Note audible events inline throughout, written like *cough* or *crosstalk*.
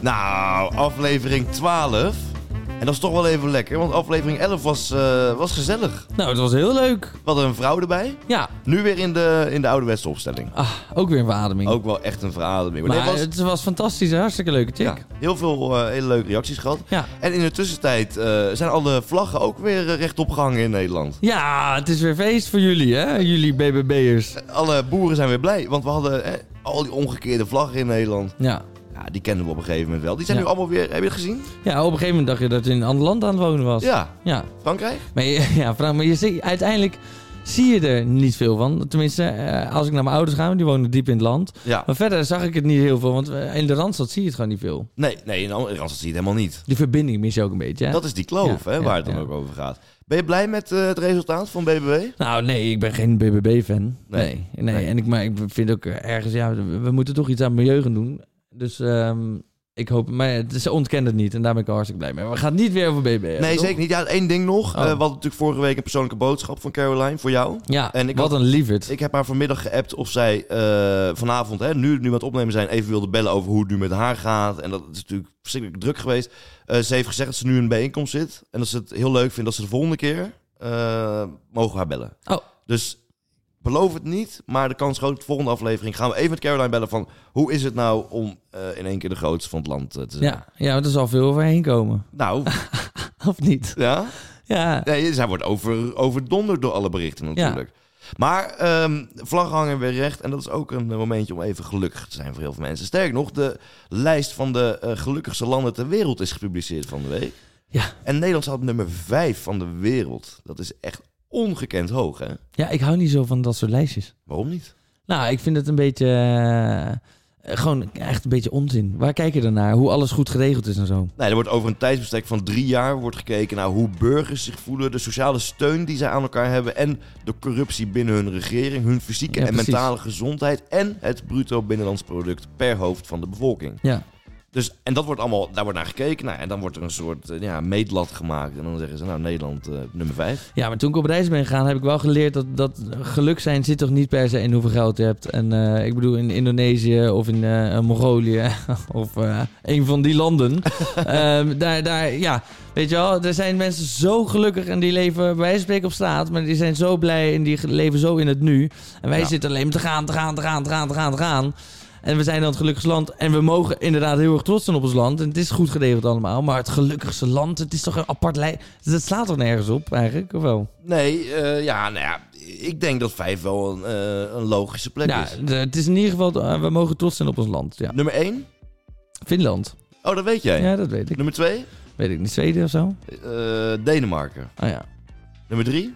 Nou, aflevering 12. En dat is toch wel even lekker, want aflevering 11 was, eh, was gezellig. Nou, het was heel leuk. We hadden een vrouw erbij. Ja, Nu weer in de, in de ouderwetse opstelling. ah, ook weer een verademing. Ook wel echt een verademing. maar dit was- het was fantastisch, een hartstikke leuke ja, chick. heel veel eh, hele leuke reacties gehad. Ja. En in de tussentijd eh, zijn alle vlaggen ook weer eh, rechtop gehangen in Nederland. Ja, het is weer feest voor jullie, hè? Jullie BBB'ers. Alle boeren zijn weer blij, want we hadden eh, al die omgekeerde vlaggen in Nederland. Ja. Ja, die kennen we op een gegeven moment wel. Die zijn Ja. nu allemaal weer, heb je het gezien? ja, op een gegeven moment dacht je dat je in een ander land aan het wonen was. Ja, Ja, Frankrijk? maar, je- *laughs* ja Frank, maar je ziet, uiteindelijk zie je er niet veel van. Tenminste, eh, als ik naar mijn ouders ga, die wonen diep in het land. Ja. Maar verder zag ik het niet heel veel, want eh, in de Randstad zie je het gewoon niet veel. Nee, nee, in Am- in Randstad zie je het helemaal niet. Die verbinding mis je ook een beetje, hè? Dat is die kloof, Ja, hè, ja, waar het dan ja. ook over gaat. Ben je blij met eh, het resultaat van BBB? Nou, nee, ik ben geen BBB-fan. Nee. Nee. Nee, Nee. En ik, maar ik vind ook ergens, ja, we we moeten toch iets aan het milieu gaan doen. Dus ehm, ik hoop, maar het- ze ontkennen het niet en daar ben ik al hartstikke blij mee. Maar we gaan het niet weer over BBB hebben, nee, toch? zeker niet. Ja, één ding nog. Oh. Eh, we hadden natuurlijk vorige week een persoonlijke boodschap van Caroline voor jou. Ja, En ik wat een lieverd. Ik heb haar vanmiddag geappt of zij eh, vanavond, hè, nu, nu we aan het opnemen zijn, even wilde bellen over hoe het nu met haar gaat. En dat is natuurlijk verschrikkelijk druk geweest. Eh, ze heeft gezegd dat ze nu in een bijeenkomst zit. En dat ze het heel leuk vindt dat ze de volgende keer eh, mogen we haar bellen. Oh. Dus beloof het niet, maar de kans is groot. De volgende aflevering gaan we even met Caroline bellen van hoe is het nou om eh, in één keer de grootste van het land eh, te zijn. Ja, ja, want er zal veel overheen *laughs* komen. Nou, Of niet? ja. Ja. Nee, zij wordt over, overdonderd door alle berichten natuurlijk. Maar ehm vlag hangen weer recht. En dat is ook een eh, momentje om even gelukkig te zijn voor heel veel mensen. Sterker nog, de lijst van de eh, gelukkigste landen ter wereld is gepubliceerd van de week. Ja. En Nederland staat op nummer 5 van de wereld. Dat is echt ongekend hoog, hè? ja, ik hou niet zo van dat soort lijstjes. Waarom niet? Nou, ik vind het een beetje... eh, gewoon echt een beetje onzin. Waar kijk je dan naar? Hoe alles goed geregeld is en zo. Nee, er wordt over een tijdsbestek van drie jaar wordt gekeken naar hoe burgers zich voelen, de sociale steun die zij aan elkaar hebben en de corruptie binnen hun regering, hun fysieke Ja, en precies. mentale gezondheid en het bruto binnenlands product per hoofd van de bevolking. Ja. Dus, en dat wordt allemaal, daar wordt naar gekeken nou, en dan wordt er een soort eh, ja, meetlat gemaakt en dan zeggen ze nou Nederland eh, nummer vijf. Ja, maar toen ik op reis ben gegaan, heb ik wel geleerd dat, dat geluk zijn zit toch niet per se in hoeveel geld je hebt. En eh, ik bedoel, in Indonesië of in eh, Mongolië *laughs* of eh, een van die landen. Ehm, daar, daar, ja, weet je wel, er zijn mensen zo gelukkig en die leven bij wijze van spreken op straat. Maar die zijn zo blij en die ge- leven zo in het nu. En wij Ja. zitten alleen maar te gaan, te gaan, te gaan, te gaan, te gaan, te gaan. En we zijn dan het gelukkigste land. En we mogen inderdaad heel erg trots zijn op ons land. En het is goed geregeld allemaal. Maar het gelukkigste land, het is toch een apart lijst. Dat Dus slaat toch nergens op eigenlijk, of wel? Nee, eh, ja, nou ja, ik denk dat vijf wel een, eh, een logische plek Ja, is. de- het is in ieder geval, eh, we mogen trots zijn op ons land. Ja. Nummer één? Finland. Oh, dat weet jij. Ja, dat weet ik. Nummer twee? Weet ik niet. Zweden of zo? Eh, Denemarken. Oh ja. Nummer *laughs* drie?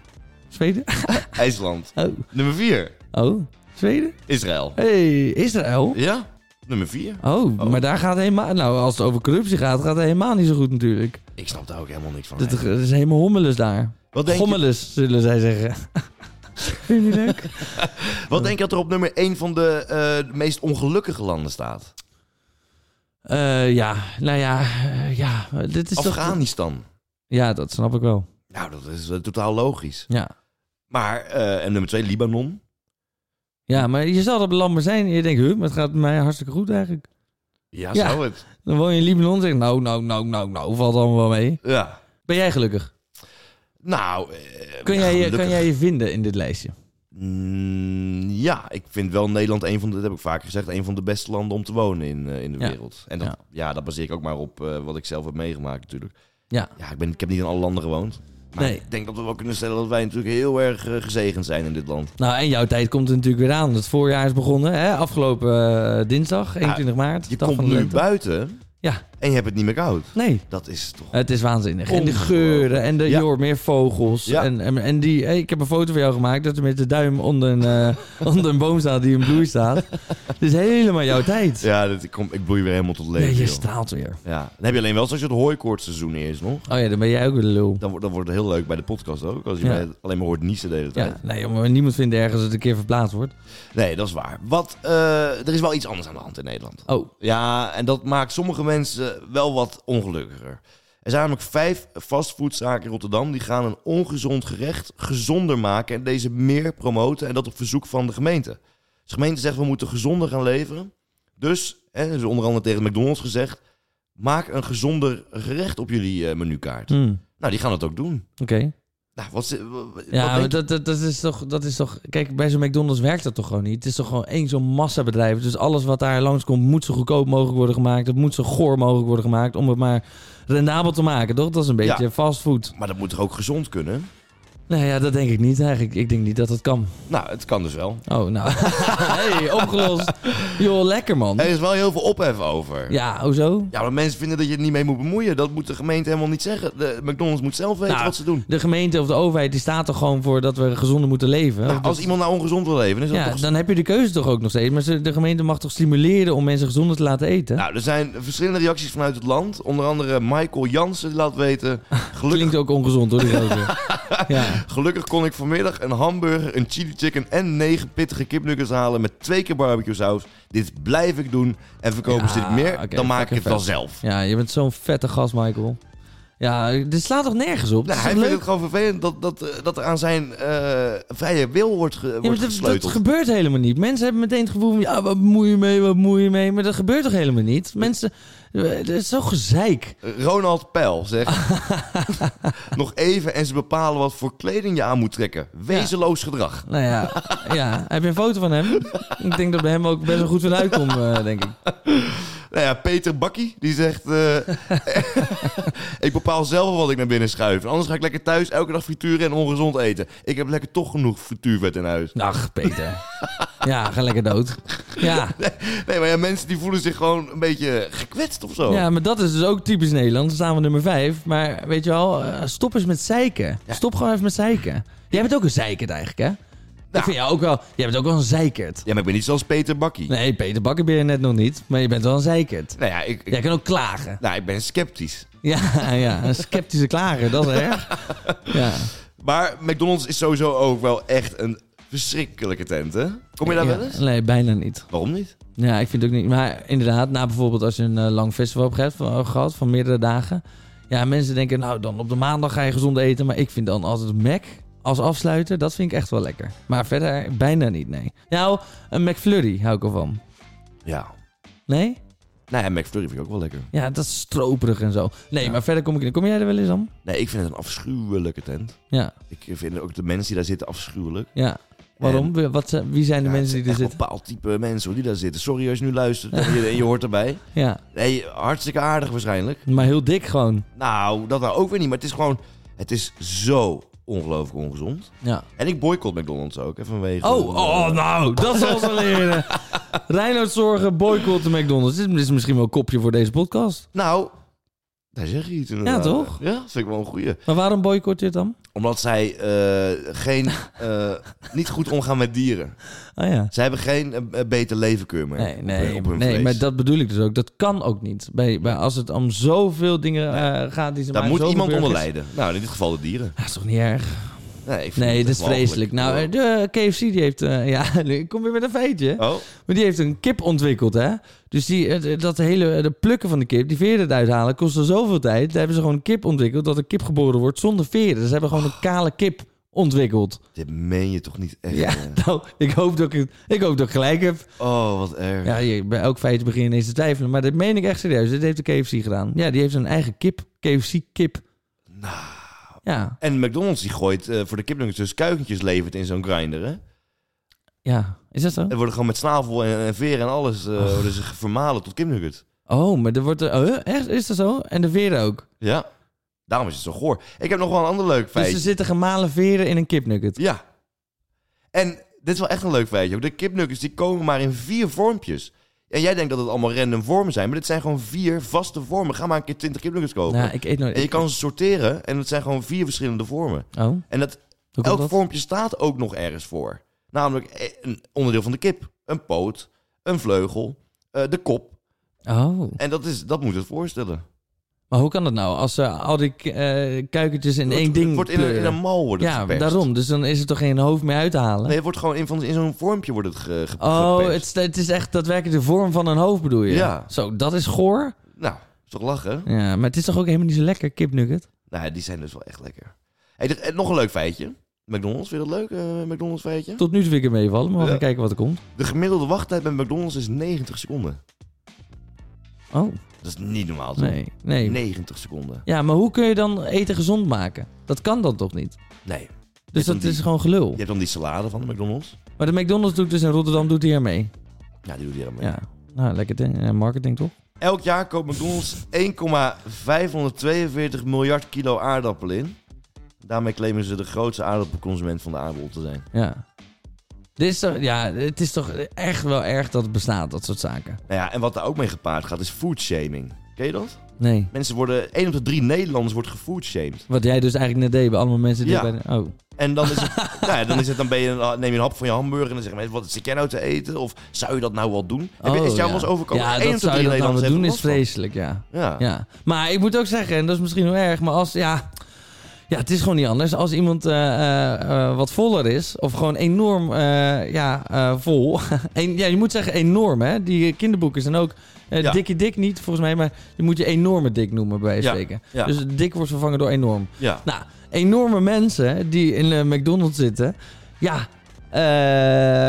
Zweden? IJsland. Oh. Nummer vier? Oh. Zweden? Israël. hey, Israël. Ja, nummer 4. Oh, Oh. maar daar gaat helemaal... Nou, als het over corruptie gaat, gaat het helemaal niet zo goed natuurlijk. Ik snap daar ook helemaal niks van. Dat, eigenlijk. dat is helemaal hommeles daar. Wat Oh, denk, je, Gommeles, zullen zij zeggen. Vind je niet leuk? wat denk je dat er op nummer 1 van de eh, meest ongelukkige landen staat? Eh, ja, nou ja, eh, ja. Dit is toch... Afghanistan. Ja, dat snap ik wel. Nou, dat is eh, totaal logisch. Ja. Maar, eh, en nummer 2, Libanon. Ja, maar je zal dat beland maar zijn en je denkt, huh, maar het gaat mij hartstikke goed eigenlijk. Ja, Ja. zou het. Dan woon je in Libanon en zeg je, nou, nou, nou, nou, nou, valt allemaal wel mee. Ja. Ben jij gelukkig? Nou, eh, Kun jij, je, gelukkig- kan jij je vinden in dit lijstje? Mm, ja, ik vind wel Nederland een van de, dat heb ik vaker gezegd, een van de beste landen om te wonen in, eh, in de Ja. wereld. En dat, ja. Ja. dat baseer ik ook maar op eh, wat ik zelf heb meegemaakt natuurlijk. Ja. ja ik, ben, ik heb niet in alle landen gewoond. Maar Nee. ik denk dat we wel kunnen stellen dat wij natuurlijk heel erg eh, gezegend zijn in dit land. Nou, en jouw tijd komt er natuurlijk weer aan. Het voorjaar is begonnen, hè? afgelopen eh, dinsdag, 21 maart. Je dag komt van de nu lente. buiten Ja, en je hebt het niet meer koud. nee. Dat is toch... Het is waanzinnig. En de Ongelooflijk. geuren en de, Ja. je hoort meer vogels. Ja. En, en, en die, hey, ik heb een foto van jou gemaakt dat er met de duim onder een, eh, *laughs* onder een boom staat die in *laughs* bloei staat. Het is helemaal jouw tijd. Ja, dat, ik, kom, ik bloei weer helemaal tot Nee, leven. je joh. straalt weer. ja. Dan heb je alleen wel eens als je het hooikoortseizoen is nog. Oh ja, dan ben jij ook weer de lul. Dan, wordt- dan wordt het heel leuk bij de podcast ook. Als je Ja. mij alleen maar hoort niezen de hele tijd. Ja, nee, maar niemand vindt ergens dat het een keer verplaatst wordt. Nee, dat is waar. Wat, eh, er is wel iets anders aan de hand in Nederland. Oh, Ja, en dat maakt sommige mensen wel wat ongelukkiger. Er zijn namelijk vijf fastfoodzaken in Rotterdam die gaan een ongezond gerecht gezonder maken en deze meer promoten. En dat op verzoek van de gemeente. Dus de gemeente zegt we moeten gezonder gaan leveren. Dus, hè, er is onder andere tegen McDonald's gezegd, maak een gezonder gerecht op jullie eh, menukaart. Hmm, Nou, die gaan het ook doen. Oké. Nou, wat, ze- w- wat Ja, maar denk- dat, dat, dat, is toch, dat is toch... Kijk, bij zo'n McDonald's werkt dat toch gewoon niet? Het is toch gewoon één zo'n massabedrijf. Dus alles wat daar langskomt moet zo goedkoop mogelijk worden gemaakt. Het moet zo goor mogelijk worden gemaakt om het maar rendabel te maken, toch? Dat is een Ja. beetje fastfood. maar dat moet toch ook gezond kunnen? Nou ja, dat denk ik niet eigenlijk. Ik denk niet dat dat kan. Nou, het kan dus wel. Oh, *laughs* nou. hey, opgelost. Joh, lekker man. Er is wel heel veel ophef over. Ja, hoezo? Ja, maar mensen vinden dat je er niet mee moet bemoeien. Dat moet de gemeente helemaal niet zeggen. De McDonald's moet zelf weten Nou, wat ze doen. De gemeente of de overheid die staat er gewoon voor dat we gezonder moeten leven. Nou, Of dat- als iemand nou ongezond wil leven, dan is dat ja, toch... dan heb je de keuze toch ook nog steeds. Maar ze- de gemeente mag toch stimuleren om mensen gezonder te laten eten? Nou, er zijn verschillende reacties vanuit het land. Onder andere Michael Jansen die laat *laughs* weten... Gelukkig, Klinkt ook ongezond hoor, *laughs* die gozer. ja. gelukkig kon ik vanmiddag een hamburger, een chili chicken en negen pittige kipnuggets halen... met twee keer barbecue saus. Dit blijf ik doen. En verkopen ze Ja, dit meer, oké, dan maak ik fucking het wel vet. zelf. ja, je bent zo'n vette gast, Michael. Ja, dit slaat toch nergens op? Nou, hij Dat is toch vindt leuk? het gewoon vervelend dat, dat, eh, dat er aan zijn eh, vrije wil wordt, ge- Ja, wordt maar dat, dat gesleuteld. gebeurt helemaal niet. Mensen hebben meteen het gevoel van, ja, wat moei je mee, wat moei je mee. Maar dat gebeurt toch helemaal niet? Mensen, eh, dat is zo gezeik. Ronald Pijl zegt... *laughs* Nog even en ze bepalen wat voor kleding je aan moet trekken. Wezenloos gedrag. Nou *laughs* ja, ja, heb je een foto van hem? Ik denk dat bij hem ook best wel goed van uitkomt, eh, denk ik. Nou ja, Peter Bakkie, die zegt... eh, *laughs* ik bepaal zelf wat ik naar binnen schuif. Anders ga ik lekker thuis elke dag frituren en ongezond eten. Ik heb lekker toch genoeg frituurvet in huis. Ach, Peter. Ja, ga lekker dood. Ja. Nee, maar ja, mensen die voelen zich gewoon een beetje gekwetst of zo. ja, maar dat is dus ook typisch Nederland. Dan staan we nummer vijf. Maar weet je wel, eh, stop eens met zeiken. Stop gewoon even met zeiken. Jij bent ook een zeikert eigenlijk, hè? Nou. Ik vind jou ook wel... Jij bent ook wel een zeikert. Ja, maar ik ben niet zoals Peter Bakkie. Nee, Peter Bakker ben je net nog niet. Maar je bent wel een zeikert. Nou ja, ik, ik- Jij kan ook klagen. nou, ik ben sceptisch. Ja, *laughs* ja. Een sceptische klager, dat is erg. *laughs* Ja. Maar McDonald's is sowieso ook wel echt een verschrikkelijke tent, hè? Kom je daar Ja, wel eens? Nee, bijna niet. Waarom niet? Ja, ik vind het ook niet. Maar inderdaad, na bijvoorbeeld als je een eh, lang festival hebt gehad van, gehad van meerdere dagen. Ja, mensen denken, nou dan op de maandag ga je gezond eten. Maar ik vind dan altijd Mac als afsluiter, dat vind ik echt wel lekker. Maar verder bijna niet, nee. Nou, een McFlurry hou ik ervan. Ja. Nee? Nou ja, McFlurry vind ik ook wel lekker. Ja, dat is stroperig en zo. Nee, Ja. maar verder kom ik in. Kom jij er wel eens aan? Nee, ik vind het een afschuwelijke tent. Ja, Ik vind ook de mensen die daar zitten afschuwelijk. ja. Waarom? Wat, zijn- wie zijn de Ja, het mensen zijn die echt er zitten? Een bepaald type mensen hoor, die daar zitten. Sorry als je nu *laughs* luistert en je, en je hoort erbij. Ja, Nee, hartstikke aardig waarschijnlijk. maar heel dik gewoon. Nou, dat nou ook weer niet. Maar het is gewoon... Het is zo ongelooflijk ongezond. Ja. En ik boycott McDonald's ook, hè, vanwege... eh, Oh, oh, nou, dat zal ze leren. *laughs* Reinoud Zorgen boycott de McDonald's. Dit is misschien wel een kopje voor deze podcast. Nou, daar zeg je iets inderdaad. toch? Ja, vind ik wel een goeie. Maar waarom boycott je het dan? Omdat zij eh, geen, eh, niet goed omgaan met dieren. Ah ja. Zij hebben geen eh, eh, beter levenkeur meer Nee, op, hun- nee, op hun nee vlees. maar dat bedoel ik dus ook. Dat kan ook niet. Bij, bij, als het om zoveel dingen eh, gaat die ze Daar maken, moet zoveel iemand onder burgers. lijden. Nou, in dit geval de dieren. Dat is toch niet erg? Nee, ik vind Nee, het dat is echt walgelijk. vreselijk. Nou, eh, de KFC die heeft... eh, ja, *laughs* nu, ik kom weer met een feitje. Oh, Maar die heeft een kip ontwikkeld, hè? Dus die, eh, dat hele eh, de plukken van de kip, die veren eruit halen, kostte zoveel tijd. Daar hebben ze gewoon een kip ontwikkeld dat een kip geboren wordt zonder veren. Dus ze hebben gewoon een Oh. kale kip ontwikkeld. dit meen je toch niet echt? Ja, hè? nou, ik hoop dat ik, het- ik, hoop dat ik gelijk heb. Oh, wat erg. Ja, je- bij elk feitje begin je ineens te twijfelen. Maar dit meen ik echt serieus. Dit heeft de KFC gedaan. Ja, die heeft zijn eigen kip. KFC-kip. Nou. Ja, En McDonald's die gooit eh, voor de kipnuggets dus kuikentjes levert in zo'n grinder, hè? ja. Is dat zo? En worden gewoon met snavel en, en veren en alles eh worden ze vermalen tot kipnuggets. Oh, maar er wordt... Er, oh, echt? Is dat zo? En de veren ook. Ja. Daarom is het zo goor. Ik heb nog wel een ander leuk Dus feitje. er zitten gemalen veren in een kipnugget. Ja. En dit is wel echt een leuk feitje. ook. De kipnuggets die komen maar in vier vormpjes. En jij denkt dat het allemaal random vormen zijn, maar dit zijn gewoon vier vaste vormen. Ga maar een keer 20 kipnuggets kopen. Nou, ik eet nooit... Oh. En je kan ze sorteren en het zijn gewoon vier verschillende vormen. Oh, hoe En dat, komt elk dat? vormpje staat ook nog ergens voor. Namelijk eh, een onderdeel van de kip, een poot, een vleugel, eh, de kop. Oh. En dat, is, dat moet het voorstellen. Maar hoe kan dat nou? Als ze al die eh kuikentjes in één het, ding het wordt in een, in pleuren? een mal wordt het Ja, geperst. daarom. Dus dan is er toch geen hoofd meer uit te halen? Nee, het wordt gewoon in, van- in zo'n vormpje wordt het ge, ge- Oh, geperst. het, is- het is echt daadwerkelijk de vorm van een hoofd bedoel je? Ja. Zo, dat is goor. Nou, is toch lachen? Ja, maar het is toch ook helemaal niet zo lekker, kipnugget? Nou, die zijn dus wel echt lekker. Hey, dit- en nog een leuk feitje. McDonald's, vind je dat leuk, eh, McDonald's feitje? Tot nu toe vind ik het meevallen, maar we gaan Ja. kijken wat er komt. De gemiddelde wachttijd bij McDonald's is 90 seconden. Oh, Dat is niet normaal. Toch? nee, nee. 90 seconden. Ja, maar hoe kun je dan eten gezond maken? Dat kan dan toch niet? Nee. Dus dan dat die- is gewoon gelul. Je hebt dan die salade van de McDonald's. Maar de McDonald's doet dus in Rotterdam doet hier mee. Ja, die doet hij helemaal Ja. Nou, lekker ding. Eh, Marketing toch? Elk jaar koopt McDonald's 1,542 miljard kilo aardappelen in. Daarmee claimen ze de grootste aardappelconsument van de aardbol te zijn. Ja. Dit is toch, ja, het is toch echt wel erg dat het bestaat, dat soort zaken. Nou ja, en wat daar ook mee gepaard gaat is foodshaming. Ken je dat? Nee. Mensen worden, 1 op de 3 Nederlanders wordt gefoodshamed. Wat jij dus eigenlijk net deed bij allemaal mensen die Ja. bij de- Oh, En dan is *laughs* het, nou ja, dan, is het dan, ben je, dan neem je een hap van je hamburger en dan zeggen mensen, wat zit jij nou te eten? Of zou je dat nou wel doen? Heb je, Oh, is het jou ja. wel eens overkomen? Ja, Eén dat op de zou je drie dat dan Nederlanders doen is heeft er last vreselijk, ja. van. Ja. ja. Maar ik moet ook zeggen, en dat is misschien heel erg, maar als... Ja, ja, het is gewoon niet anders. Als iemand eh, eh, eh, wat voller is, of gewoon enorm eh, ja, eh, vol... *laughs* en, ja, je moet zeggen enorm, hè. Die kinderboeken zijn ook... eh, Ja. Dikke dik niet, volgens mij, maar je moet je enorme dik noemen bij wijze van Ja, spreken. ja. Dus dik wordt vervangen door enorm. ja. Nou, enorme mensen die in de McDonald's zitten. Ja,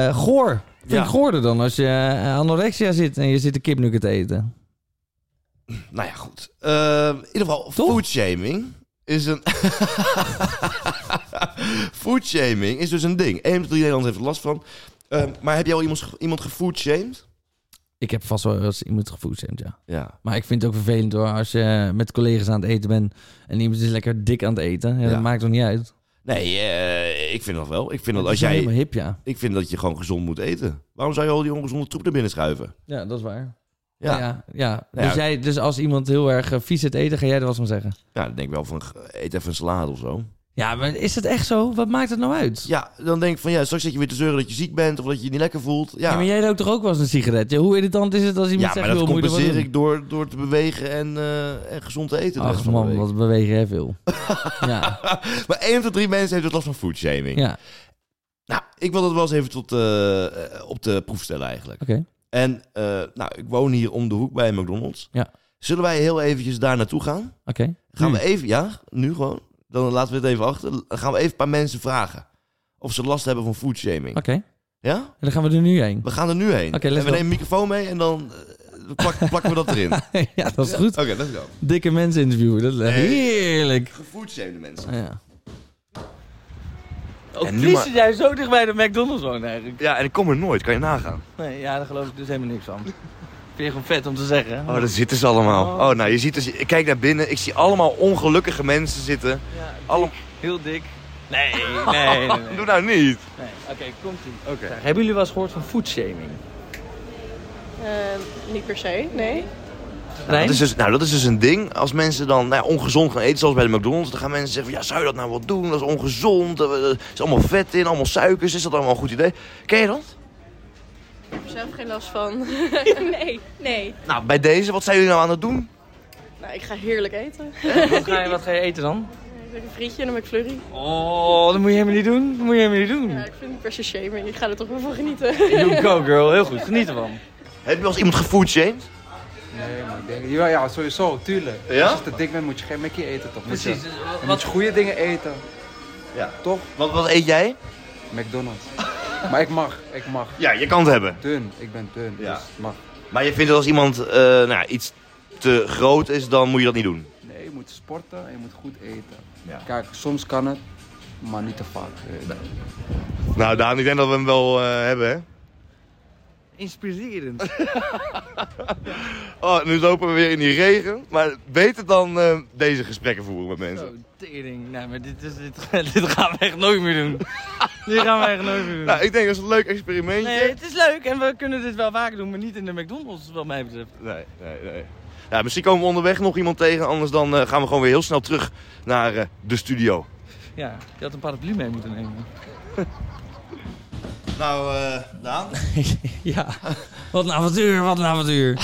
eh, goor. Vind Ja. ik goorder dan als je eh, anorexia zit en je zit een kipnugget te eten. Nou ja, goed. Ehm, in ieder geval, foodshaming is een... *laughs* foodshaming is dus een ding. 1 op de 3 Nederlanders heeft er last van. Ehm, maar heb jij al iemand, ge- iemand gefoodshamed? Ik heb vast wel eens iemand gevoedstemd, ja. Ja. Maar ik vind het ook vervelend hoor, als je met collega's aan het eten bent en iemand is lekker dik aan het eten. Ja, Ja. Dat maakt toch niet uit. Nee, eh, ik vind dat wel. Ik vind dat Dat als is wel jij... helemaal hip, ja. Ik vind dat je gewoon gezond moet eten. Waarom zou je al die ongezonde troep naar binnen schuiven? Ja, dat is waar. Ja, Ja, ja. ja, Nou Dus, ja. jij, dus als iemand heel erg eh, vies zit eten, ga jij er wat van zeggen. dan denk ik wel van, eet even een salade of zo. Ja, maar is dat echt zo? Wat maakt het nou uit? Ja, dan denk ik van, ja, straks zit je weer te zeuren dat je ziek bent of dat je je niet lekker voelt. Ja, Ja, maar jij rookt toch ook wel eens een sigaretje? Hoe irritant is het als iemand ja zegt... maar dat "Joh, moet je er wat compenseer doen?" ik door, door te bewegen en, eh, en gezond te eten de rest Ach van de man, week. wat bewegen jij *laughs* veel. ja, Maar één van de drie mensen heeft het last van foodshaming. ja. Nou, ik wil dat wel eens even tot, eh, eh, op de proef stellen eigenlijk. oké. En eh, nou, ik woon hier om de hoek bij een McDonald's. Ja. Zullen wij heel eventjes daar naartoe gaan? oké. Gaan Nu. we even, ja, nu gewoon. Dan laten we het even achter. Dan gaan we even een paar mensen vragen of ze last hebben van foodshaming. Oké, Ja? En dan gaan we er *laughs* nu heen. We gaan er nu heen. Oké, let's en we go. nemen een microfoon mee en dan eh, plak- plakken we dat *laughs* erin. Oké, ja, dat is goed. let's go. Dikke mensen interviewen, dat is Nee. heerlijk. Ah, Gefoodshamede mensen. Ja. Ook En nu vies maar- dat jij zo dicht bij de McDonald's woont eigenlijk. Ja, en ik kom er nooit, kan je nagaan. Nee, ja, daar geloof ik dus helemaal niks van. Vind je gewoon vet om te zeggen. Oh, daar zitten ze allemaal. Oh. Oh, nou, je ziet dus, ik kijk naar binnen, ik zie allemaal ongelukkige mensen zitten. Allemaal. heel dik. Nee, nee, nee. Doe nou niet. Oké, komt ie. Hebben jullie wel eens gehoord van foodshaming? Eh, niet per se, nee. Dat is dus, nou, dat is dus een ding. Als mensen dan nou, ja, ongezond gaan eten, zoals bij de McDonald's, dan gaan mensen zeggen: van, ja, zou je dat nou wel doen? Dat is ongezond. eh, Er is allemaal vet in, allemaal suikers. Is dat allemaal een goed idee? Ken je dat? Ik heb er zelf geen last *laughs* van. Nee, nee. Nou, bij deze, wat zijn jullie nou aan het doen? nou, ik ga heerlijk eten. wat, ga je, wat ga je eten dan? Ik heb een frietje en dan ben ik flurry. Oh, dat moet je helemaal niet doen. Dat moet je helemaal niet doen. Ja, ik vind het niet per se shaming. Ik ga er toch wel van genieten. You go girl, heel goed. Geniet ervan. Heb je wel eens iemand gefoodshamed? Nee, maar ik denk, ja, ja, sowieso, tuurlijk. Ja? Als je te dik bent, moet je geen mekkie eten, toch? Moet je- Precies, dus wat- je moet je goede dingen eten, Ja. toch? Wat, wat eet jij? *laughs* McDonald's. maar ik mag, ik mag. Ja, je kan het hebben. Dun, ik ben dun, Ja. dus het mag. Maar je vindt dat als iemand eh, nou, ja, iets te groot is, dan moet je dat niet doen. Nee, je moet sporten en je moet goed eten. Ja. Kijk, soms kan het, maar niet te vaak. weet je. Nou, Daan, ik denk dat we hem wel eh, hebben, hè? Inspirerend. Oh, nu lopen we weer in die regen. Maar beter dan eh, deze gesprekken voeren met mensen. *laughs* Zo, tering. Nee, maar dit, is, dit, *laughs* dit gaan we echt nooit meer doen. Dit gaan we echt nooit meer doen. Nou, ik denk dat is een leuk experimentje. Nee, het is leuk en we kunnen dit wel vaker doen, maar niet in de McDonald's, wat mij betreft. Nee, nee, nee. Ja, misschien komen we onderweg nog iemand tegen. Anders dan eh, gaan we gewoon weer heel snel terug naar eh, de studio. Ja, je had een paraplu mee moeten nemen. Nou, Daan. *laughs* Ja, wat een avontuur, wat een avontuur.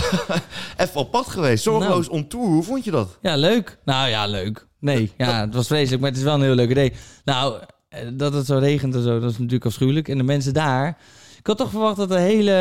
Even op pad geweest. Zorgeloos Nou. on tour. Hoe vond je dat? Ja, leuk. Nou ja, leuk. Nee, ja, het was vreselijk, maar het is wel een heel leuk idee. Nou, eh, dat het zo regent en zo, dat is natuurlijk afschuwelijk. En de mensen daar, Ik had toch verwacht dat er hele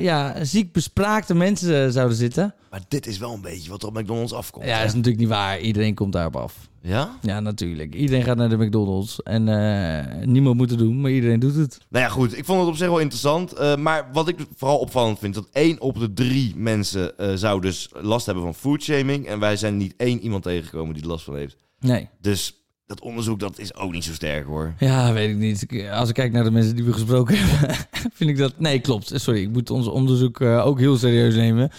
ja, ziek bespraakte mensen eh, zouden zitten. Maar dit is wel een beetje wat op McDonald's afkomt. Ja, hè? dat is natuurlijk niet waar. Iedereen komt daarop af. ja? Ja, natuurlijk. Iedereen gaat naar de McDonald's. En eh, niemand moet het doen, maar iedereen doet het. Nou ja, goed. Ik vond het op zich wel interessant. eh, maar wat ik vooral opvallend vind, dat één op de drie mensen eh, zou dus last hebben van foodshaming. En wij zijn niet één iemand tegengekomen die er last van heeft. Nee. Dus dat onderzoek, dat is ook niet zo sterk hoor. Ja, weet ik niet. Ik- Als ik kijk naar de mensen die we gesproken *laughs* hebben, vind ik dat... Nee, klopt. Sorry, ik moet ons onderzoek eh, ook heel serieus nemen.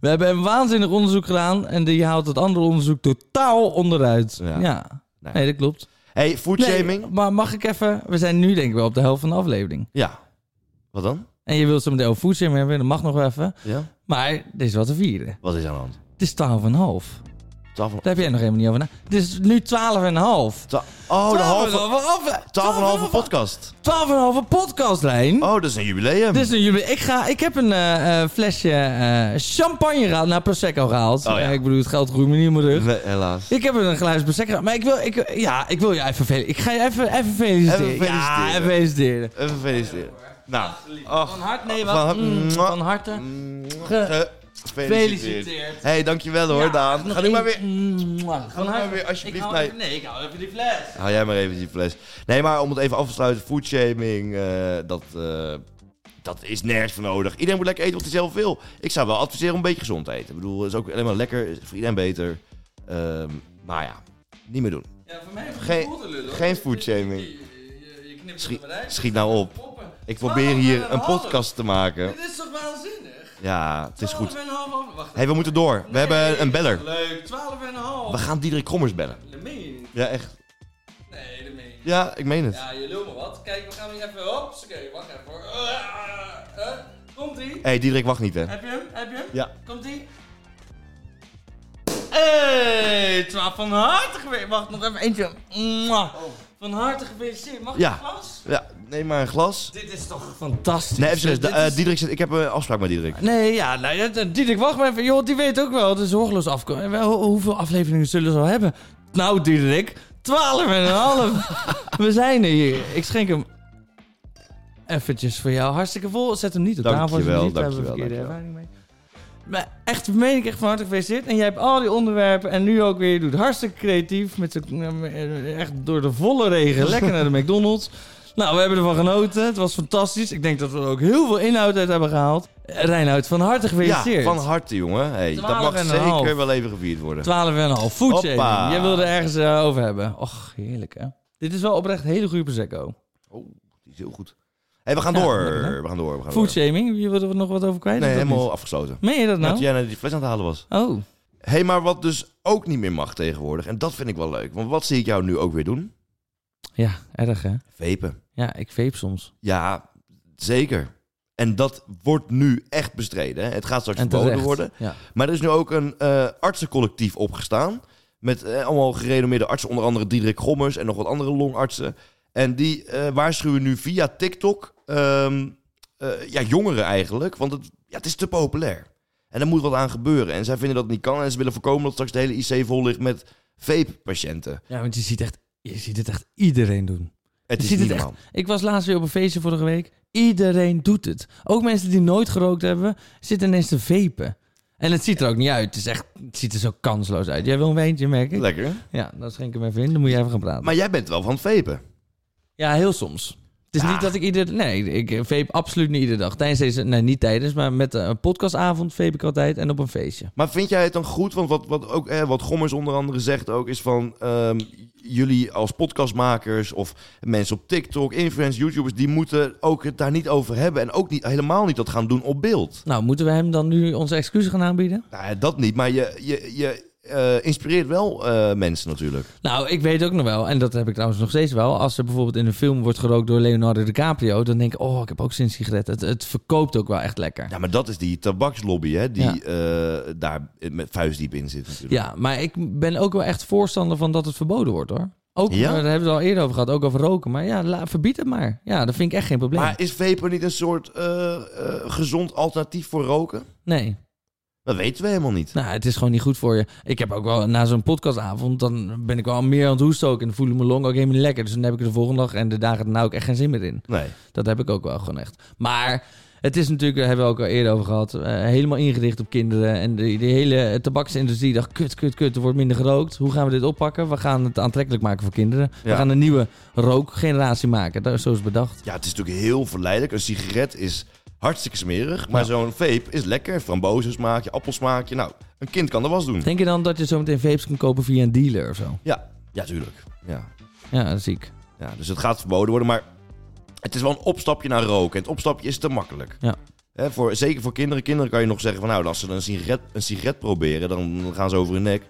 We hebben een waanzinnig onderzoek gedaan en die haalt het andere onderzoek totaal onderuit. Ja. Ja. Nee. Nee, dat klopt. hey, foodshaming. Nee, maar mag ik even... We zijn nu denk ik wel op de helft van de aflevering. Ja. Wat dan? En je wilt zo meteen over foodshaming hebben, dat mag nog wel even. Ja? Maar er is wat te vieren. Wat is aan de hand? Het is 12,5. Twaalf en- Daar heb jij nog helemaal niet over na. Het is nu 12,5. twa- Oh, de halve... 12,5 Twaalf en een halve podcast. 12,5 podcastlijn. Oh, dat is een jubileum. Dus nu, jullie- ik, ga, ik heb een eh, eh, flesje eh, champagne gehaald. Nou, Prosecco gehaald. Oh, ja. Eh, ik bedoel, het geld groeit me niet in mijn rug. Nee, helaas. Ik heb een glaasje Prosecco gehaald. Maar ik wil, ik, ja, ik wil je even feliciteren. Ik ga je even, even feliciteren. Even feliciteren. Ja, even feliciteren. Even feliciteren. Nou. Van Och. harte, nee, Van wat? harte. mm, van harte. Ge- Gefeliciteerd. Hé, hey, dankjewel hoor, Ja, Daan. nog Ga nu maar weer... één. Mm, Mwah. Ga nu maar weer Ik alsjeblieft hou naar... even- nee, ik hou even die fles. Hou jij maar even die fles. Nee, maar om het even af te sluiten. Foodshaming, eh dat, eh, dat is nergens voor nodig. Iedereen moet lekker eten wat hij zelf wil. Ik zou wel adviseren om een beetje gezond te eten. Ik bedoel, het is ook alleen maar lekker. is voor iedereen beter. Ehm, maar ja, niet meer doen. Ja, voor mij Geen- geen foodshaming. Je, je, je knipt Schiet, er maar uit. schiet nou op. Poppen. Ik probeer hier een podcast te maken. Dit is toch waanzinnig? Ja, het is goed. 12,5. Wacht Hé, hey, we moeten door. We hebben een beller. Leuk, 12 en een half. We gaan Diederik Krommers bellen. Dat meen je niet. Ja, echt. Nee, dat meen je niet. Ja, ik meen het. Ja, je lul me wat. Kijk, we gaan weer even... Hops, oké, wacht even hoor. Ah, eh, Komt-ie? Hé, hey, Diederik, wacht niet, hè. Heb je hem? Heb je hem? Ja. Komt-ie? Hey, 12 van harte gefeliciteerd. Wacht, nog even eentje. Mwah. Van harte gefeliciteerd. Mag ik Ja. een glas? Ja, neem maar een glas. Dit is toch fantastisch. Nee, even serieus. Dit Da- eh, is- Diederik zit... Ik heb een afspraak met Diederik. Nee, ja, nou, ja, d- Diederik, wacht maar even. Joh, die weet ook wel, dus het is zorgeloos afkomen. eh, Wel, ho- hoeveel afleveringen zullen ze al hebben? Nou, Diederik, twaalf en een *laughs* half. We zijn er hier. Ik schenk hem eventjes voor jou. Hartstikke vol. Zet hem niet op tafel. Dankjewel, alsjeblieft. Daar hebben we dankjewel, verkeerde ervaring mee. Maar echt, meen ik echt van harte gefeliciteerd. En jij hebt al die onderwerpen en nu ook weer. Je doet hartstikke creatief. Met zo'n- eh, echt door de volle regen. Lekker naar de *laughs* McDonald's. Nou, we hebben ervan genoten. Het was fantastisch. Ik denk dat we er ook heel veel inhoud uit hebben gehaald. Reinoud, van harte Ja, gefeliciteerd. van harte, jongen. Hey, dat mag 12,5. zeker wel even gevierd worden. 12,5. Foodshake. Hoppa. Jij wilde er ergens eh, over hebben. Och, heerlijk hè. Dit is wel oprecht hele goede Prosecco. Die is heel goed. Hey, we gaan Ja, door. lekker, hè? we gaan door. We gaan door. Foodshaming, je wilde er nog wat over kwijt? Nee, of dat helemaal afgesloten. niet? Meen je dat Dat nou? jij naar die fles aan het halen was. Oh, Hé, hey, maar wat dus ook niet meer mag tegenwoordig. En dat vind ik wel leuk. Want wat zie ik jou nu ook weer doen? ja, erg hè. Vepen. Ja, ik vape soms. Ja, zeker. En dat wordt nu echt bestreden. Hè? Het gaat straks En verboden terecht. worden. Ja. Maar er is nu ook een eh, artsencollectief opgestaan. Met eh, allemaal gerenommeerde artsen, onder andere Diederik Gommers en nog wat andere longartsen. En die eh, waarschuwen nu via TikTok ehm, eh, ja, jongeren eigenlijk. Want het, ja, het is te populair. En er moet wat aan gebeuren. En zij vinden dat het niet kan. En ze willen voorkomen dat straks de hele IC vol ligt met vape-patiënten. ja, want je ziet, echt, je ziet het echt iedereen doen. Het Je is ziet niet het echt. normaal. Ik was laatst weer op een feestje vorige week. Iedereen doet het. Ook mensen die nooit gerookt hebben, zitten ineens te vapen. En het ziet er ook niet uit. Het, is echt, het ziet er zo kansloos uit. Jij wil een weentje, merk ik? Lekker. Ja, dan schenk ik hem even in. Dan moet je even gaan praten. Maar jij bent wel van het vapen. ja, heel soms. Het is Ja. niet dat ik ieder... Nee, ik vape absoluut niet iedere dag. Tijdens deze... Nee, niet tijdens, maar met een podcastavond vape ik altijd. En op een feestje. Maar vind jij het dan goed? Want wat, wat, ook, eh, wat Gommers onder andere zegt ook is van... ehm, jullie als podcastmakers of mensen op TikTok, influencers, YouTubers... die moeten ook het daar niet over hebben. En ook niet, helemaal niet dat gaan doen op beeld. Nou, moeten we hem dan nu onze excuses gaan aanbieden? Nou, ja, dat niet, maar je, je, je eh, inspireert wel eh, mensen natuurlijk. Nou, ik weet ook nog wel, en dat heb ik trouwens nog steeds wel. Als er bijvoorbeeld in een film wordt gerookt door Leonardo DiCaprio, dan denk ik, oh, ik heb ook zin in sigaretten. Het, het verkoopt ook wel echt lekker. Ja. Ja, maar dat is die tabakslobby hè, die Ja. eh, daar met vuistdiep in zit natuurlijk. maar ik ben ook wel echt voorstander van dat het verboden wordt hoor. Ook, Ja? eh, daar hebben we het al eerder over gehad, ook over roken. Maar ja, la- verbied het maar. Ja, dat vind ik echt geen probleem. Maar is vapen niet een soort eh, eh, gezond alternatief voor roken? Nee. Dat weten we helemaal niet. Nou, het is gewoon niet goed voor je. Ik heb ook wel na zo'n podcastavond, dan ben ik wel meer aan het hoesten ook. En dan voelen mijn longen ook helemaal niet lekker. Dus dan heb ik er de volgende dag en de dagen daarna ook echt geen zin meer in. Nee. Dat heb ik ook wel gewoon echt. Maar het is natuurlijk, daar hebben we ook al eerder over gehad, eh, helemaal ingericht op kinderen. En die, die hele tabaksindustrie dacht, kut, kut, kut, er wordt minder gerookt. Hoe gaan we dit oppakken? We gaan het aantrekkelijk maken voor kinderen. We Ja. gaan een nieuwe rookgeneratie maken. Dat is zo is bedacht. Ja, het is natuurlijk heel verleidelijk. Een sigaret is hartstikke smerig. Maar zo'n vape is lekker. Frambozen smaakje, appelsmaakje. Nou, een kind kan er was doen. Denk je dan dat je zometeen vapes kan kopen via een dealer of zo? Ja, ja, tuurlijk. Ja. Ja, dat zie ik. Ja, dus het gaat verboden worden, maar het is wel een opstapje naar roken. En het opstapje is te makkelijk. Ja. Hè, voor, zeker voor kinderen. Kinderen kan je nog zeggen van nou, als ze dan een sigaret, een sigaret proberen, dan gaan ze over hun nek.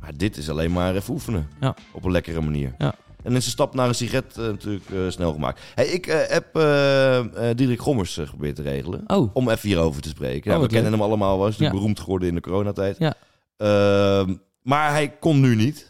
Maar dit is alleen maar even oefenen. Ja. Op een lekkere manier. Ja. En is de stap naar een sigaret eh, natuurlijk eh, snel gemaakt. Hey, ik eh, heb eh eh, Diederik Gommers eh, geprobeerd te regelen. Oh, Om even hierover te spreken. Oh, Ja, we wat kennen hem allemaal wel. Hij is natuurlijk Ja. beroemd geworden in de coronatijd. Ja. Ehm, maar hij kon nu *laughs* niet.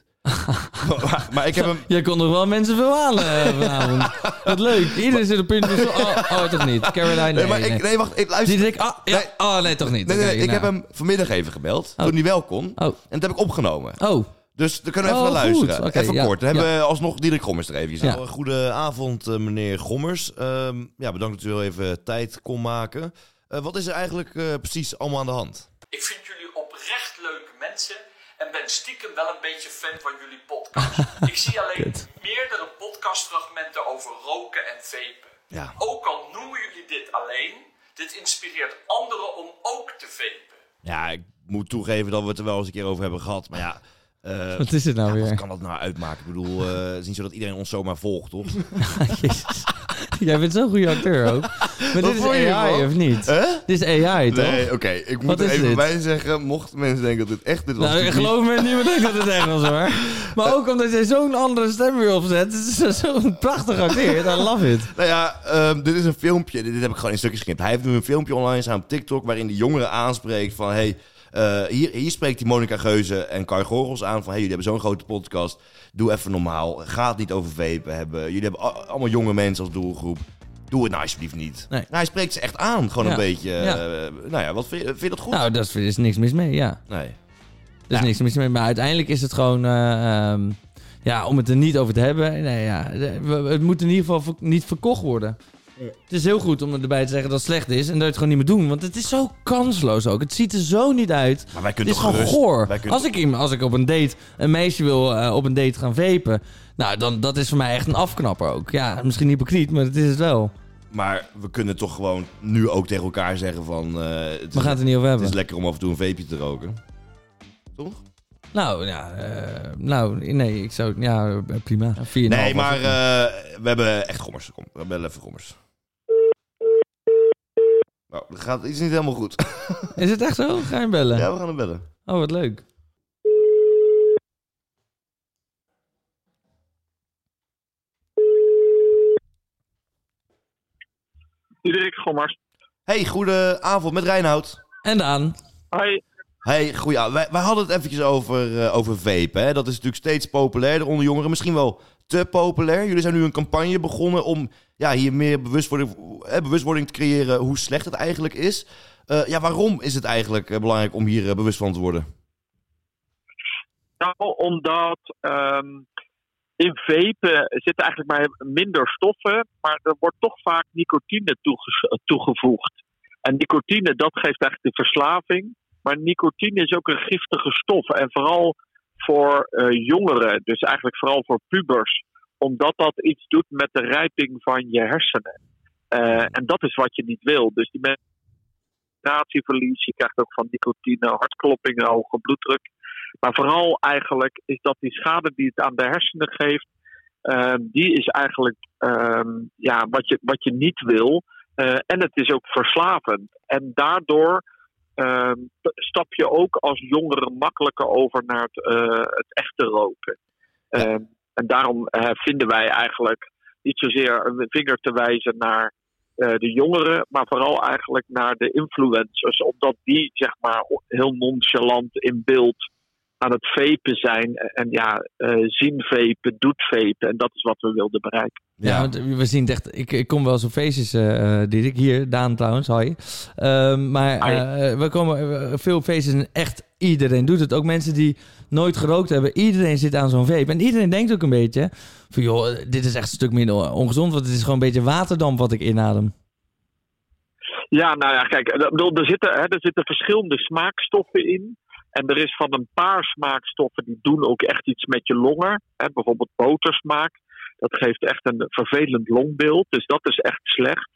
maar, maar ik heb hem... jij kon nog wel mensen verhalen eh, vanavond. Wat leuk. Iedereen zit op punt *laughs* van, oh, oh, toch niet. Caroline, Nee, nee, maar nee. Ik, nee wacht. Ik, luister, Die denkt, ah, ja, Nee. oh, nee, toch niet. Nee, nee, nee, Oké, ik nou. heb hem vanmiddag even gebeld. Oh. Toen hij wel kon. Oh, En dat heb ik opgenomen. oh. Dus dan kunnen we Oh, even naar goed. luisteren. Oké, even ja, kort. Dan ja. hebben we alsnog Diederik Gommers er even. Ja. Nou, Goedenavond, eh, meneer Gommers. Ehm, ja, bedankt dat u wel even tijd kon maken. Eh, wat is er eigenlijk eh, precies allemaal aan de hand? Ik vind jullie oprecht leuke mensen en ben stiekem wel een beetje fan van jullie podcast. Ik *laughs* zie alleen Kut. meerdere podcastfragmenten over roken en vapen. Ja. Ook al noemen jullie dit alleen, dit inspireert anderen om ook te vapen. Ja, ik moet toegeven dat we het er wel eens een keer over hebben gehad. Maar ja... eh, Wat is het nou ja, wat weer? kan dat nou uitmaken? Ik bedoel, eh, het is niet zo dat iedereen ons zomaar volgt, toch? *laughs* Jezus. Jij bent zo'n goede acteur ook. Maar dit is vond je AI ervan? of niet? Dit is AI toch? Nee, oké. Ik moet Wat er is even dit? bij zeggen, mochten mensen denken dat dit echt dit was. Nou, natuurlijk niet. geloof me, niemand denkt dat het echt was hoor. Maar ook omdat jij zo'n andere stem weer opzet. Het is zo'n prachtig acteert. I love it. Nou ja, ehm, dit is een filmpje. Dit, dit heb ik gewoon in stukjes geknipt. Hij heeft nu een filmpje online staan op TikTok... waarin de jongeren aanspreekt van... Hey, eh, hier, hier spreekt die Monica Geuze en Kai Gorgels aan van... Hey, jullie hebben zo'n grote podcast. Doe even normaal. Ga het niet over vapen hebben. Jullie hebben a- allemaal jonge mensen als doelgroep. Doe het nou alsjeblieft niet. Nee. Nou, hij spreekt ze echt aan. Gewoon Ja. een beetje... eh, Ja. nou ja, wat vind je, vind je dat goed? Nou, daar is, is niks mis mee, ja. Nee. Er is Ja. niks mis mee. Maar uiteindelijk is het gewoon... eh, ehm, ja, om het er niet over te hebben. Nee, ja. we- Het moet in ieder geval ver- niet verkocht worden. Het is heel goed om erbij te zeggen dat het slecht is. En dat je het gewoon niet meer doen. Want het is zo kansloos ook. Het ziet er zo niet uit. Maar wij Het kunnen is toch gewoon gerust- goor. Wij kunnen Als ik, iemand- als ik op een date een meisje wil eh, op een date gaan vapen. Nou, dan, dat is voor mij echt een afknapper ook. Ja, misschien hypocriet, maar dat is het wel. Maar we kunnen toch gewoon nu ook tegen elkaar zeggen van... eh, het is- We gaan het er niet over Het is hebben. lekker om af en toe een veepje te roken. Toch? Nou, ja, eh, nou, nee, ik zou... Ja, prima. 4,5 Nee, maar of zo. eh, we hebben echt gommers. Kom, we hebben even gommers. Nou, dat gaat iets niet helemaal goed. Is het echt zo? Ga je hem bellen? Ja, we gaan hem bellen. Oh, wat leuk. Diederik Gommers. Hey, goedenavond met Reinoud. En Daan. Hoi. Hey, goeie. Wij, wij hadden het eventjes over, eh, over vapen. Hè? Dat is natuurlijk steeds populairder onder jongeren. Misschien wel te populair. Jullie zijn nu een campagne begonnen om ja, hier meer bewustwording, eh, bewustwording te creëren hoe slecht het eigenlijk is. Eh, ja, waarom is het eigenlijk eh, belangrijk om hier eh, bewust van te worden? Nou, omdat ehm, in vapen zitten eigenlijk maar minder stoffen, maar er wordt toch vaak nicotine toege- toegevoegd. En nicotine, dat geeft eigenlijk de verslaving. Maar nicotine is ook een giftige stof. En vooral voor eh, jongeren, dus eigenlijk vooral voor pubers. Omdat dat iets doet met de rijping van je hersenen. Eh, en dat is wat je niet wil. Dus die mensen concentratieverlies, je krijgt ook van nicotine hartkloppingen, hoge bloeddruk. Maar vooral eigenlijk is dat die schade die het aan de hersenen geeft, eh, die is eigenlijk ehm, ja, wat, je, wat je niet wil. Eh, en het is ook verslavend. En daardoor ehm, stap je ook als jongere makkelijker over naar het, eh, het echte roken. Ehm, en daarom eh, vinden wij eigenlijk niet zozeer een vinger te wijzen naar eh, de jongeren, maar vooral eigenlijk naar de influencers. Omdat die zeg maar heel nonchalant in beeld aan het vepen zijn. En ja, eh, zien vepen, doet vepen. En dat is wat we wilden bereiken. Ja, want we zien het echt. Ik, ik kom wel eens op feestjes, eh eh, Dirk. Hier, Daan trouwens, hi. Ehm, maar Hi. eh, we komen eh, veel op feestjes en echt iedereen doet het. Ook mensen die nooit gerookt hebben. Iedereen zit aan zo'n vape. En iedereen denkt ook een beetje van... joh, eh, dit is echt een stuk minder ongezond... want het is gewoon een beetje waterdamp wat ik inadem. Ja, nou ja, kijk, eh, ik bedoel, er zitten, hè, er zitten verschillende smaakstoffen in. En er is van een paar smaakstoffen die doen ook echt iets met je longen. Hè, bijvoorbeeld botersmaak. Dat geeft echt een vervelend longbeeld. Dus dat is echt slecht.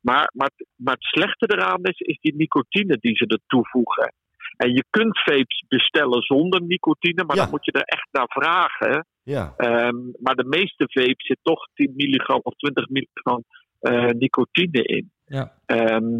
Maar, maar, maar het slechte eraan is, is die nicotine die ze er toevoegen. En je kunt vapes bestellen zonder nicotine, maar Ja. dan moet je er echt naar vragen. Ja. Ehm, maar de meeste vape zit toch 10 milligram of 20 milligram eh, nicotine in. Ja. Ehm,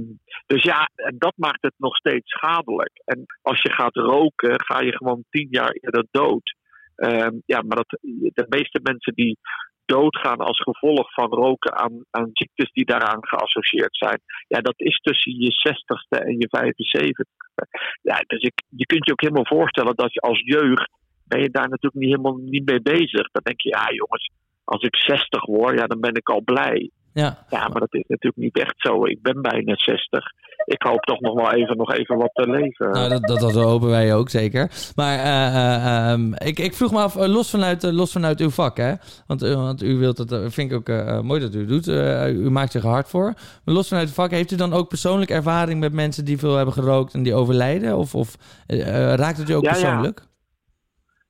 dus ja, en dat maakt het nog steeds schadelijk. En als je gaat roken, ga je gewoon 10 jaar eerder dood. Ehm, ja, maar dat, de meeste mensen die doodgaan als gevolg van roken aan, aan ziektes die daaraan geassocieerd zijn. Ja, dat is tussen je 60ste en je 75ste. Ja, dus ik, je kunt je ook helemaal voorstellen dat je als jeugd ben je daar natuurlijk niet helemaal niet mee bezig. Dan denk je, ja jongens, als ik 60 word, ja, dan ben ik al blij. Ja. Ja, maar dat is natuurlijk niet echt zo. Ik ben bijna 60. Ik hoop toch nog wel even, nog even wat te leven. Nou, dat, dat, dat hopen wij ook zeker. Maar eh, eh, ehm, ik, ik vroeg me af, eh, los, vanuit, eh, los vanuit uw vak, hè? Want, eh, want u wilt dat, eh, vind ik ook eh, eh, mooi dat u het doet. Eh, u maakt zich er hard voor. Maar los vanuit het vak, heeft u dan ook persoonlijk ervaring met mensen die veel hebben gerookt en die overlijden? Of, of eh, eh, raakt het u ook Ja, ja. persoonlijk?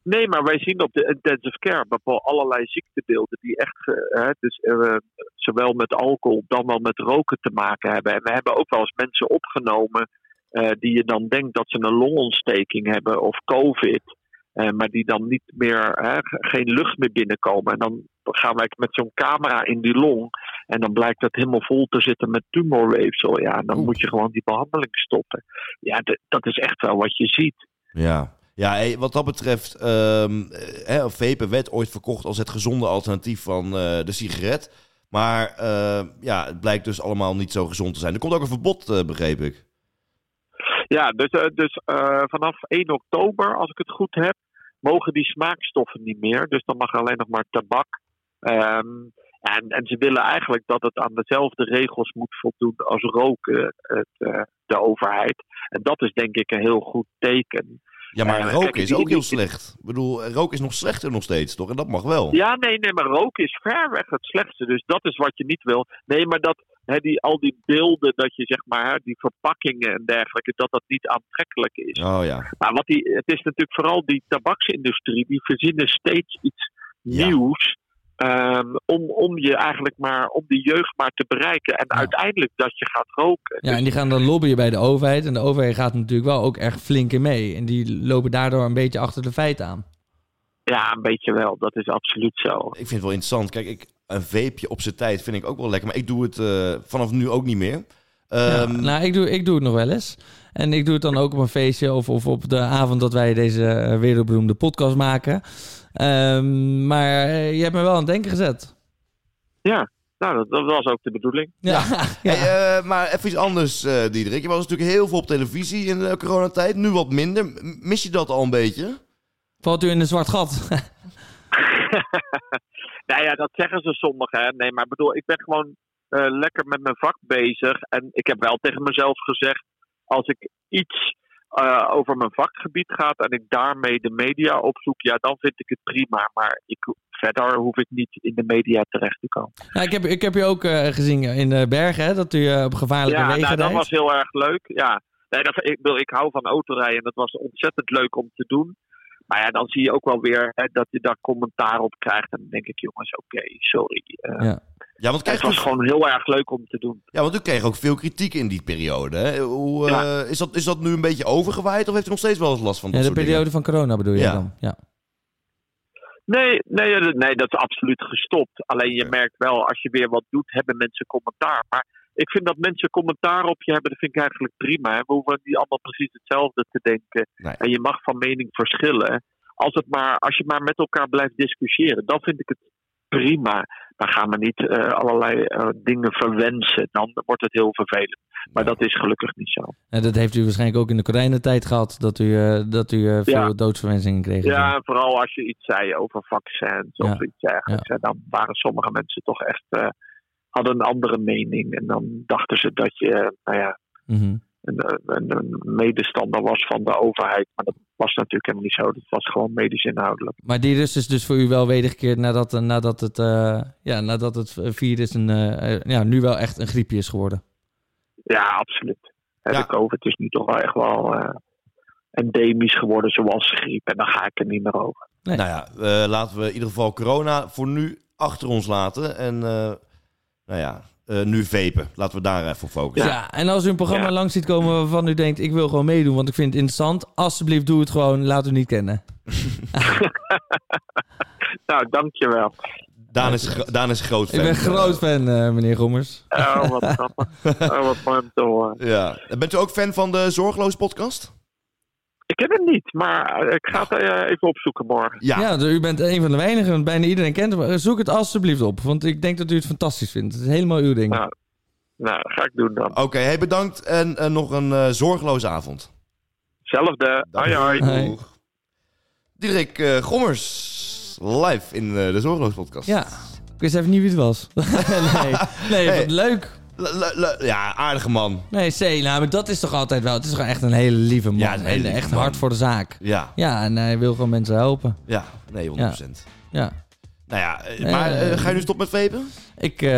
Nee, maar wij zien op de intensive care bijvoorbeeld allerlei ziektebeelden die echt ge- hè, dus, eh, zowel met alcohol dan wel met roken te maken hebben. En we hebben ook wel eens mensen opgenomen eh, die je dan denkt dat ze een longontsteking hebben of COVID. eh, maar die dan niet meer, hè, geen lucht meer binnenkomen. En dan gaan wij met zo'n camera in die long. En dan blijkt dat helemaal vol te zitten met tumorweefsel. Ja, en dan Oeh. moet je gewoon die behandeling stoppen. Ja, d- dat is echt wel wat je ziet. Ja. Ja, hé, wat dat betreft, ehm eh, hè, vapen werd ooit verkocht als het gezonde alternatief van eh, de sigaret. Maar eh, ja, het blijkt dus allemaal niet zo gezond te zijn. Er komt ook een verbod, eh, begreep ik. Ja, dus, eh, dus eh, vanaf 1 oktober, als ik het goed heb, mogen die smaakstoffen niet meer. Dus dan mag alleen nog maar tabak. Ehm, en, en ze willen eigenlijk dat het aan dezelfde regels moet voldoen als roken, het, eh, de overheid. En dat is denk ik een heel goed teken. Ja, maar Ja, maar roken kijk, is die- ook heel die- slecht. Ik bedoel, eh, roken is nog slechter nog steeds, toch? En dat mag wel. Ja, nee, nee, maar roken is ver weg het slechtste. Dus dat is wat je niet wil. Nee, maar dat hè, die, al die beelden, dat je zeg maar, hè, die verpakkingen en dergelijke, dat dat niet aantrekkelijk is. Oh ja. Maar wat die, het is natuurlijk vooral die tabaksindustrie, die verzinnen steeds iets Ja. nieuws. ehm, om, om je eigenlijk maar, om die jeugd maar te bereiken. En Ja. uiteindelijk dat je gaat roken. Ja, en die gaan dan lobbyen bij de overheid. En de overheid gaat natuurlijk wel ook echt flink in mee. En die lopen daardoor een beetje achter de feiten aan. Ja, een beetje wel. Dat is absoluut zo. Ik vind het wel interessant. Kijk, ik, een veepje op zijn tijd vind ik ook wel lekker. Maar ik doe het eh, vanaf nu ook niet meer. Ja, Ehm, nou, ik doe, ik doe het nog wel eens. En ik doe het dan ook op een feestje of, of op de avond dat wij deze eh, wereldberoemde podcast maken. Ehm, maar eh, je hebt me wel aan het denken gezet. Nou, dat, dat was ook de bedoeling. Ja, *laughs* ja. Hey, eh, maar even iets anders, eh Diederik. Je was natuurlijk heel veel op televisie in de coronatijd. Nu wat minder. M- Mis je dat al een beetje? Valt u in een zwart gat? *laughs* *laughs* Nou ja, dat zeggen ze sommigen. Hè. Nee, maar ik bedoel, ik ben gewoon eh, lekker met mijn vak bezig. En ik heb wel tegen mezelf gezegd, als ik iets eh, over mijn vakgebied gaat en ik daarmee de media opzoek, ja, dan vind ik het prima. Maar ik, verder hoef ik niet in de media terecht te komen. nou, ik, heb, ik heb je ook eh, gezien in de bergen, hè, dat u eh, op gevaarlijke Ja, wegen nou, dat rijdt. was heel erg leuk. Ja. Nee, dat, ik, bedoel, ik hou van autorijden en dat was ontzettend leuk om te doen. Maar ja, dan zie je ook wel weer hè, dat je daar commentaar op krijgt. En dan denk ik, jongens, oké, sorry. Eh, Ja, want kijk, het was dus- gewoon heel erg leuk om te doen. ja, want u kreeg ook veel kritiek in die periode. Hè? Hoe, eh, is, dat, is dat nu een beetje overgewaaid of heeft u nog steeds wel eens last van dat Ja, de soort dingen? periode van corona bedoel je Ja. dan? Ja. Nee, nee, ja, dat- nee, dat is absoluut gestopt. Alleen je Oké. merkt wel, als je weer wat doet, hebben mensen commentaar. Maar ik vind dat mensen commentaar op je hebben, dat vind ik eigenlijk prima. Hè? We hoeven niet allemaal precies hetzelfde te denken. Nee. En je mag van mening verschillen. Als, het maar, als je maar met elkaar blijft discussiëren, dan vind ik het prima. Maar ga maar niet eh, allerlei eh, dingen verwensen. Dan wordt het heel vervelend. Maar dat is gelukkig niet zo. Nou, dat heeft u waarschijnlijk ook in de coronatijd gehad, dat u, eh, dat u eh, veel Ja. doodsverwensingen kreeg. Ja, en vooral als je iets zei over vaccins of Ja. iets dergelijks. hè, Dan waren sommige mensen toch echt, eh, hadden een andere mening. En dan dachten ze dat je nou ja, Mhm. een, een, een medestander was van de overheid. Maar dat was natuurlijk helemaal niet zo. Dat was gewoon medisch inhoudelijk. Maar die rust is dus voor u wel wedergekeerd nadat, eh, nadat, het, eh, ja, nadat het virus een, eh, eh, ja, nu wel echt een griepje is geworden. Ja, absoluut. Hè, Ja. De COVID is nu toch wel echt wel eh, endemisch geworden zoals griep. En dan ga ik er niet meer over. Nee. Nou ja, eh, laten we in ieder geval corona voor nu achter ons laten. En eh, nou ja, eh, nu vapen. Laten we daar even op Ja. focussen. en als u een programma Ja. langs ziet komen waarvan u denkt, ik wil gewoon meedoen, want ik vind het interessant. Alsjeblieft, doe het gewoon, laat u niet kennen. Nou, *laughs* dankjewel. Daan, is, gro- Daan is groot fan. Ik ben groot fan, eh, meneer Gommers. Oh, wat grappig. Oh, wat mooi om te horen. Ja. Bent u ook fan van de Zorgeloos podcast? Ik ken hem niet, maar eh, ik ga het eh, even opzoeken morgen. Ja. Ja, dus u bent een van de weinigen, want bijna iedereen kent hem. Eh, Zoek het alsjeblieft op, want ik denk dat u het fantastisch vindt. Het is helemaal uw ding. Ja. Nou, dat ga ik doen dan. Oké, hey, bedankt en eh, nog een eh zorgeloze avond. Zelfde. *laughs* Hoi, hoi. Hoi. Doeg. Diederik eh, Gommers, live in eh, de Zorgeloos podcast. Ja, ik wist even niet wie het was. *laughs* nee, nee Hey. wat leuk. Le- le- le- ja, aardige man. Nee, C, nou, maar dat is toch altijd wel. Het is gewoon echt een hele lieve man. Ja, een hele en lieve echt man. hard voor de zaak. Ja, Ja, en hij wil gewoon mensen helpen. ja, nee, 100%. Ja. Nou ja, eh, maar Eh, eh, ga je nu stoppen met vapen? Ik, eh,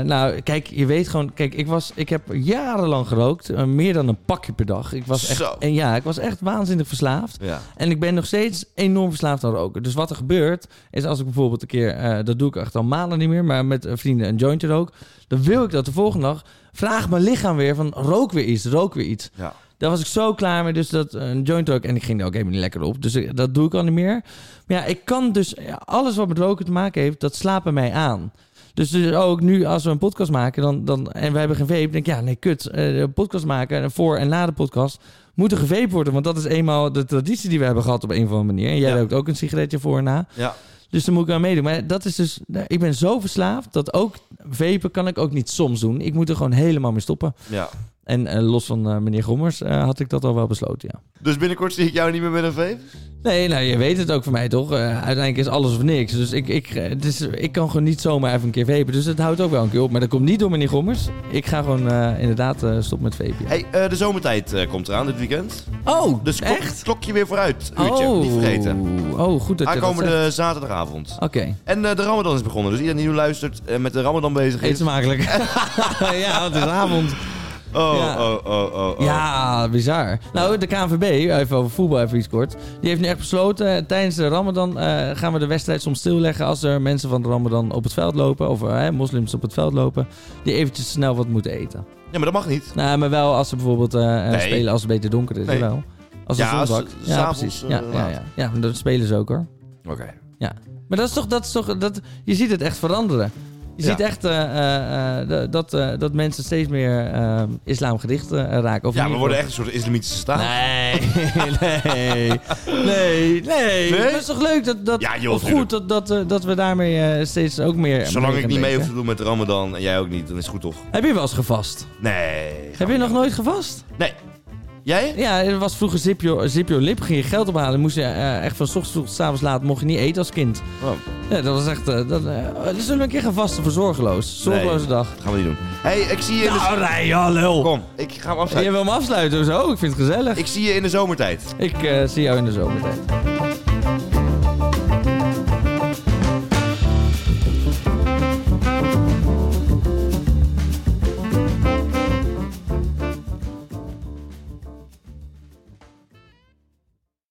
nou, kijk, je weet gewoon, kijk, ik was, ik heb jarenlang gerookt, eh, meer dan een pakje per dag. Ik was echt, Zo. en ja, ik was echt waanzinnig verslaafd. Ja. En ik ben nog steeds enorm verslaafd aan roken. Dus wat er gebeurt, is als ik bijvoorbeeld een keer... eh, dat doe ik echt al maanden niet meer, maar met eh, vrienden een jointje rook... dan wil ik dat de volgende dag... vraag mijn lichaam weer van rook weer iets, rook weer iets. Ja. Daar was ik zo klaar mee, dus dat eh, een joint rook... en ik ging daar ook helemaal niet lekker op, dus ik- dat doe ik al niet meer. Maar ja, ik kan dus... ja, alles wat met roken te maken heeft, dat slaapt bij mij aan... Dus, dus ook nu, als we een podcast maken dan, dan, en we hebben geen vape, denk ik, ja, nee, kut. eh, een podcast maken, voor en na de podcast, moet er geveept worden. Want dat is eenmaal de traditie die we hebben gehad op een of andere manier. En jij Ja. rookt ook een sigaretje voor en na. Ja. Dus dan moet ik aan meedoen. Maar dat is dus... nou, Ik ben zo verslaafd dat ook... Vapen kan ik ook niet soms doen. Ik moet er gewoon helemaal mee stoppen. ja. En eh, los van eh, meneer Gommers eh, had ik dat al wel besloten, ja. Dus binnenkort zie ik jou niet meer met een vape? Nee, nou, je weet het ook van mij, toch? Eh, uiteindelijk is alles of niks. Dus ik, ik, eh, dus ik kan gewoon niet zomaar even een keer vapen. Dus het houdt ook wel een keer op. Maar dat komt niet door meneer Gommers. Ik ga gewoon eh, inderdaad eh stop met vapen. ja. Hey, eh, de zomertijd eh, komt eraan dit weekend. Oh, Dus klok, echt? klokje weer vooruit. Uurtje, niet vergeten. Oh, goed dat je dat zegt. Aankomende zaterdagavond. Oké, En eh, de Ramadan is begonnen. Dus iedereen die nu luistert en met de Ramadan bezig eet is. smakelijk. *laughs* ja, het is avond. Oh, Ja. oh, oh, oh, oh. Ja, bizar. Nou, de KNVB, even over voetbal even iets kort. Die heeft nu echt besloten, eh, tijdens de ramadan eh, gaan we de wedstrijd soms stilleggen... als er mensen van de ramadan op het veld lopen, of eh, moslims op het veld lopen... die eventjes snel wat moeten eten. Ja, maar dat mag niet. Nou, maar wel als ze bijvoorbeeld eh, eh, Nee. spelen als het beter donker is, Nee. wel. Als het Ja, zon als- zakt. Ja, s'avonds, precies. eh, Ja, ja, laat. ja. ja, maar dat spelen ze ook hoor. Oké. Maar dat is toch, dat is toch dat, je ziet het echt veranderen. Je Ja. ziet echt eh, eh, eh, d- dat, eh, dat mensen steeds meer eh, islamgericht eh, raken. Of in Ja, we ieder worden geval- echt een soort islamitische staat. *laughs* Nee, nee, nee, nee. Nee? Het is toch leuk dat, dat Ja, joh, of goed tuurlijk. dat, dat, eh, dat we daarmee eh, steeds ook meer... Zolang ik niet mee hoef meegaan te doen met de Ramadan en jij ook niet, dan is het goed toch? denken. Heb je wel eens gevast? Nee. Heb je nog nooit gevast? Nee. Jij? Ja, er was vroeger zip your, zip your lip, ging je geld ophalen. Moest je eh, echt van 's ochtends tot 's avonds laat, mocht je niet eten als kind. Oh, Ja, dat was echt... eh, dat, eh, zullen we een keer gaan vasten voor zorgeloos? Zorgeloze Nee. dag. gaan we niet doen. hey, ik zie je in de... Nou, rij, ja, lul. Kom, ik ga hem Je afsluiten. wil hem afsluiten of zo? Ik vind het gezellig. Ik zie je in de zomertijd. Ik eh, zie jou in de zomertijd.